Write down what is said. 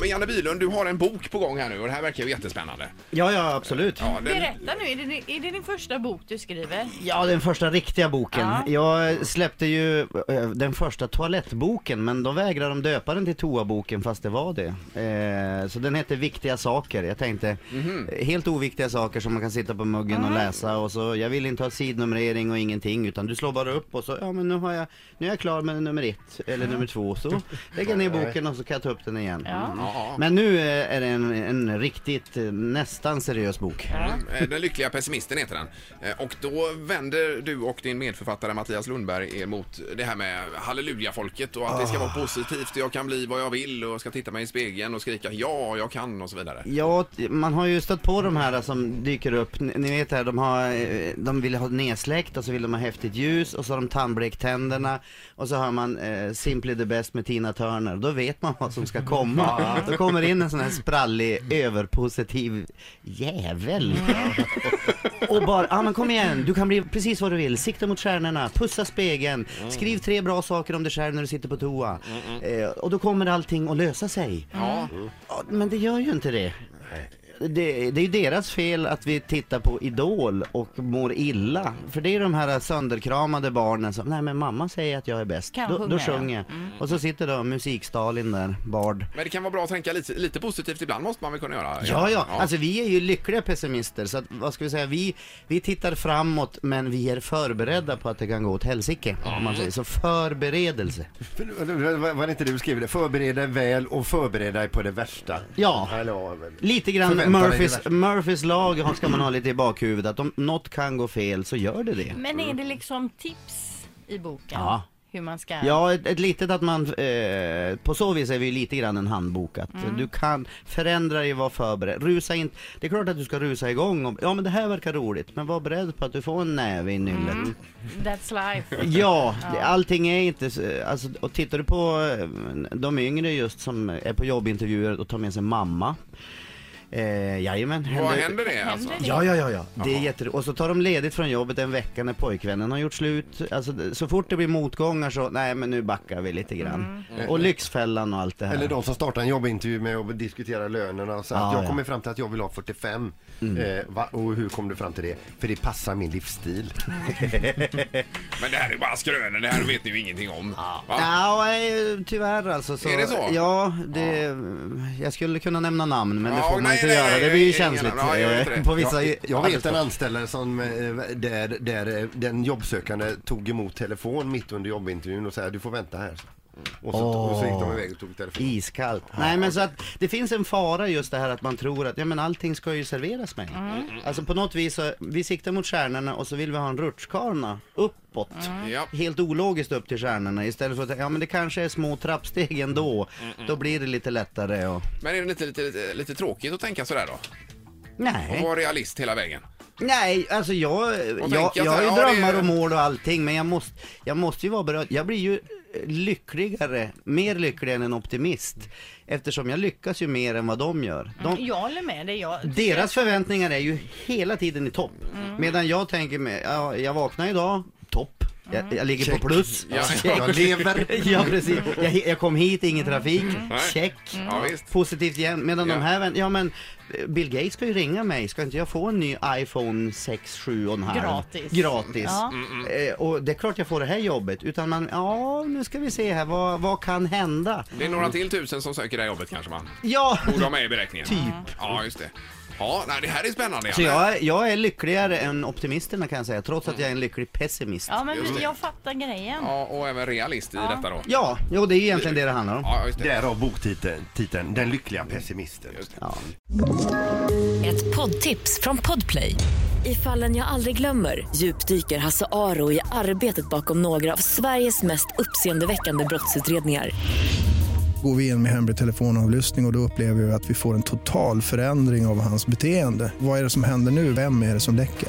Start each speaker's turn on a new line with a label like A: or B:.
A: Men Janne Bylund, du har en bok på gång här nu och det här verkar ju jättespännande.
B: Ja, ja, absolut.
A: Ja, den,
C: Berätta nu, är det, din- är det din första bok du skriver?
B: Ja, den första riktiga boken. Jag släppte ju eh, den första toalettboken, men då vägrade de döpa den till toaboken fast det var det. Eh, så den hette Viktiga saker. Jag tänkte,
A: Mhm.
B: eh, helt oviktiga saker som man kan sitta på muggen och läsa och så, jag vill inte ha sidnumrering och ingenting utan du slår bara upp och så, ja men nu har jag, nu är jag klar med nummer ett eller nummer två så lägger jag ner boken och så kan jag ta upp den igen. Mm.
A: ja,
B: Men nu eh, är det en, en riktigt, eh, nästan seriös bok.
A: eh, den lyckliga pessimisten heter den. Eh, Och då vänder du och din medförfattare Mattias Lundberg er mot det här med hallelujafolket och att det ska
B: Ah.
A: vara positivt och jag kan bli vad jag vill och jag ska titta mig i spegeln och skrika ja, jag kan och så vidare.
B: Ja, t- man har ju stött på de här som dyker upp. Ni- Ni vet här, de, har, eh, de vill ha nedsläckt och så vill de ha häftigt ljus och så har de tandblekt tänderna och så hör man eh, Simply the best med Tina Turner. Då vet man vad som ska komma. Då kommer in en sån här sprallig, överpositiv jävel. Och bara, ja men kom igen, du kan bli precis vad du vill. Sikta mot stjärnorna, pussa spegeln, skriv tre bra saker om dig själv när du sitter på toa. Eh, och då kommer allting att lösa sig.
A: Ja,
B: Ja, men det gör ju inte det. Det, det är ju deras fel att vi tittar på Idol och mår illa. För det är de här sönderkramade barnen som, nej men mamma säger att jag är bäst.
C: Kan
B: Då,
C: sjunga,
B: då
C: ja. Mm.
B: sjunger jag. Och så sitter då musik-Stalin där, Bard.
A: men det kan vara bra att tänka lite, lite positivt ibland måste man väl kunna göra?
B: Ja, ja, alltså vi är ju lyckliga pessimister så att, vad ska vi säga, vi, vi tittar framåt men vi är förberedda på att det kan gå åt helsike. Om man säger så, förberedelse.
D: För- Var var det inte du skrev det? Förbered dig väl och förbered dig på det värsta.
B: Ja.
D: Eller, ja, väl.
B: Lite grann
D: Förvänta dig det
B: Murphys,
D: värsta.
B: Murphys lag har- ska man ha lite i bakhuvudet, att om något kan gå fel så gör det det.
C: Men är det liksom tips i boken?
B: Ja.
C: Hur man ska...
B: Ja, ett, ett litet att man, eh, på så vis är vi ju lite grann en handbok att du kan förändra dig, var förberedd, rusa inte, det är klart att du ska rusa igång och, ja men det här verkar roligt, men var beredd på att du får en näve i nyllet.
C: That's life.
B: Mm. Ja, det- allting är inte, s- alltså, och tittar du på eh, de yngre just som är på jobbintervjuer och tar med sig mamma, eh, jajamän.
A: Vad händer det alltså?
C: Händer
B: Ja, ja, ja, ja. Det är jätter... Och så tar de ledigt från jobbet en vecka när pojkvännen har gjort slut. Alltså, det- så fort det blir motgångar så, nej men nu backar vi lite grann.
A: Mm.
B: Och Lyxfällan och allt det här.
D: Eller de som startar en jobbintervju med att diskutera lönerna och så
B: Ja,
D: att jag
B: ja. Mm.
D: kommer fram till att jag vill ha 45. Eh, va? Och hur kom du fram till det? För det passar min livsstil.
A: Men det här är bara skrönor, det här vet ni ju ingenting om. Va?
B: Ja, eh, tyvärr alltså. Så,
A: Är det så?
B: Ja, det, jag skulle kunna nämna namn men det
A: Ja,
B: får man
A: nej,
B: inte
A: nej,
B: göra.
A: nej,
B: det blir ju
A: inga
B: känsligt.
A: namn. Ja, jag vet
B: eh,
A: det.
B: på vissa
D: Jag, jag vet en
B: arbetsplatser.
D: anställare som, eh, där, där eh, den jobbsökande tog emot telefon mitt under jobbintervjun och sa du får vänta här. Och så, och så gick de iväg och tog telefonen.
B: Iskallt. Nej men så att det finns en fara just det här att man tror att ja, men allting ska ju serveras mig.
A: Mm.
B: Alltså på något vis, så, vi siktar mot stjärnorna och så vill vi ha en rutschkana uppåt.
A: Mm. Ja.
B: Helt ologiskt upp till stjärnorna istället för att ja men det kanske är små trappsteg ändå.
A: Mm.
B: Mm. Då blir det lite lättare och...
A: Men är det inte lite, lite, lite tråkigt att tänka sådär då?
B: Nej.
A: Och vara realist hela vägen?
B: Nej, alltså jag, jag,
A: tänka
B: jag
A: så
B: har
A: här,
B: ju
A: ja,
B: drömmar
A: det är-
B: och mål och allting men jag måste, jag måste ju vara berörd. Jag blir ju eh, lyckligare, mer lycklig än en optimist. Eftersom jag lyckas ju mer än vad de gör. De,
C: Jag håller med dig. Jag...
B: deras förväntningar är ju hela tiden i topp.
C: Mm.
B: Medan jag tänker mig, ja, jag vaknar idag, topp. Jag, jag ligger på plus.
A: Ja.
D: Jag lever.
B: Ja precis, jag, jag kom hit, ingen trafik, check,
C: Mm.
A: Ja, visst.
B: positivt igen. Medan
A: Mm. Ja.
B: de här vän- ja men eh, Bill Gates ska ju ringa mig, ska inte jag få en ny iPhone 6, 7 och en halv?
C: Gratis.
B: Gratis.
C: Ja.
A: Mm,
B: Eh, och det är klart jag får det här jobbet, utan man, ja nu ska vi se här, vad, vad kan hända?
A: Det är några till tusen som söker det här jobbet kanske man
B: Ja!
A: borde ha med i beräkningen.
B: Typ.
A: Ja, just det. Ja, nej, det här är spännande.
B: Så
A: Janne.
B: jag, jag är lyckligare än optimisterna kan jag säga, trots att jag är en lycklig pessimist.
C: Ja, men
A: Just det.
C: vi, jag fattar grejen.
A: Ja, och även realist i detta då.
B: Ja, jo det är ju egentligen det det handlar om.
A: Ja, just det.
D: Därav boktiteln, titeln, Den lyckliga pessimisten.
B: Ja.
E: Ett poddtips från Podplay. I fallen jag aldrig glömmer djupdyker Hasse Aro i arbetet bakom några av Sveriges mest uppseendeväckande brottsutredningar.
F: Går vi in med hemlig telefonavlyssning och, och då upplever vi att vi får en total förändring av hans beteende. Vad är det som händer nu? Vem är det som läcker?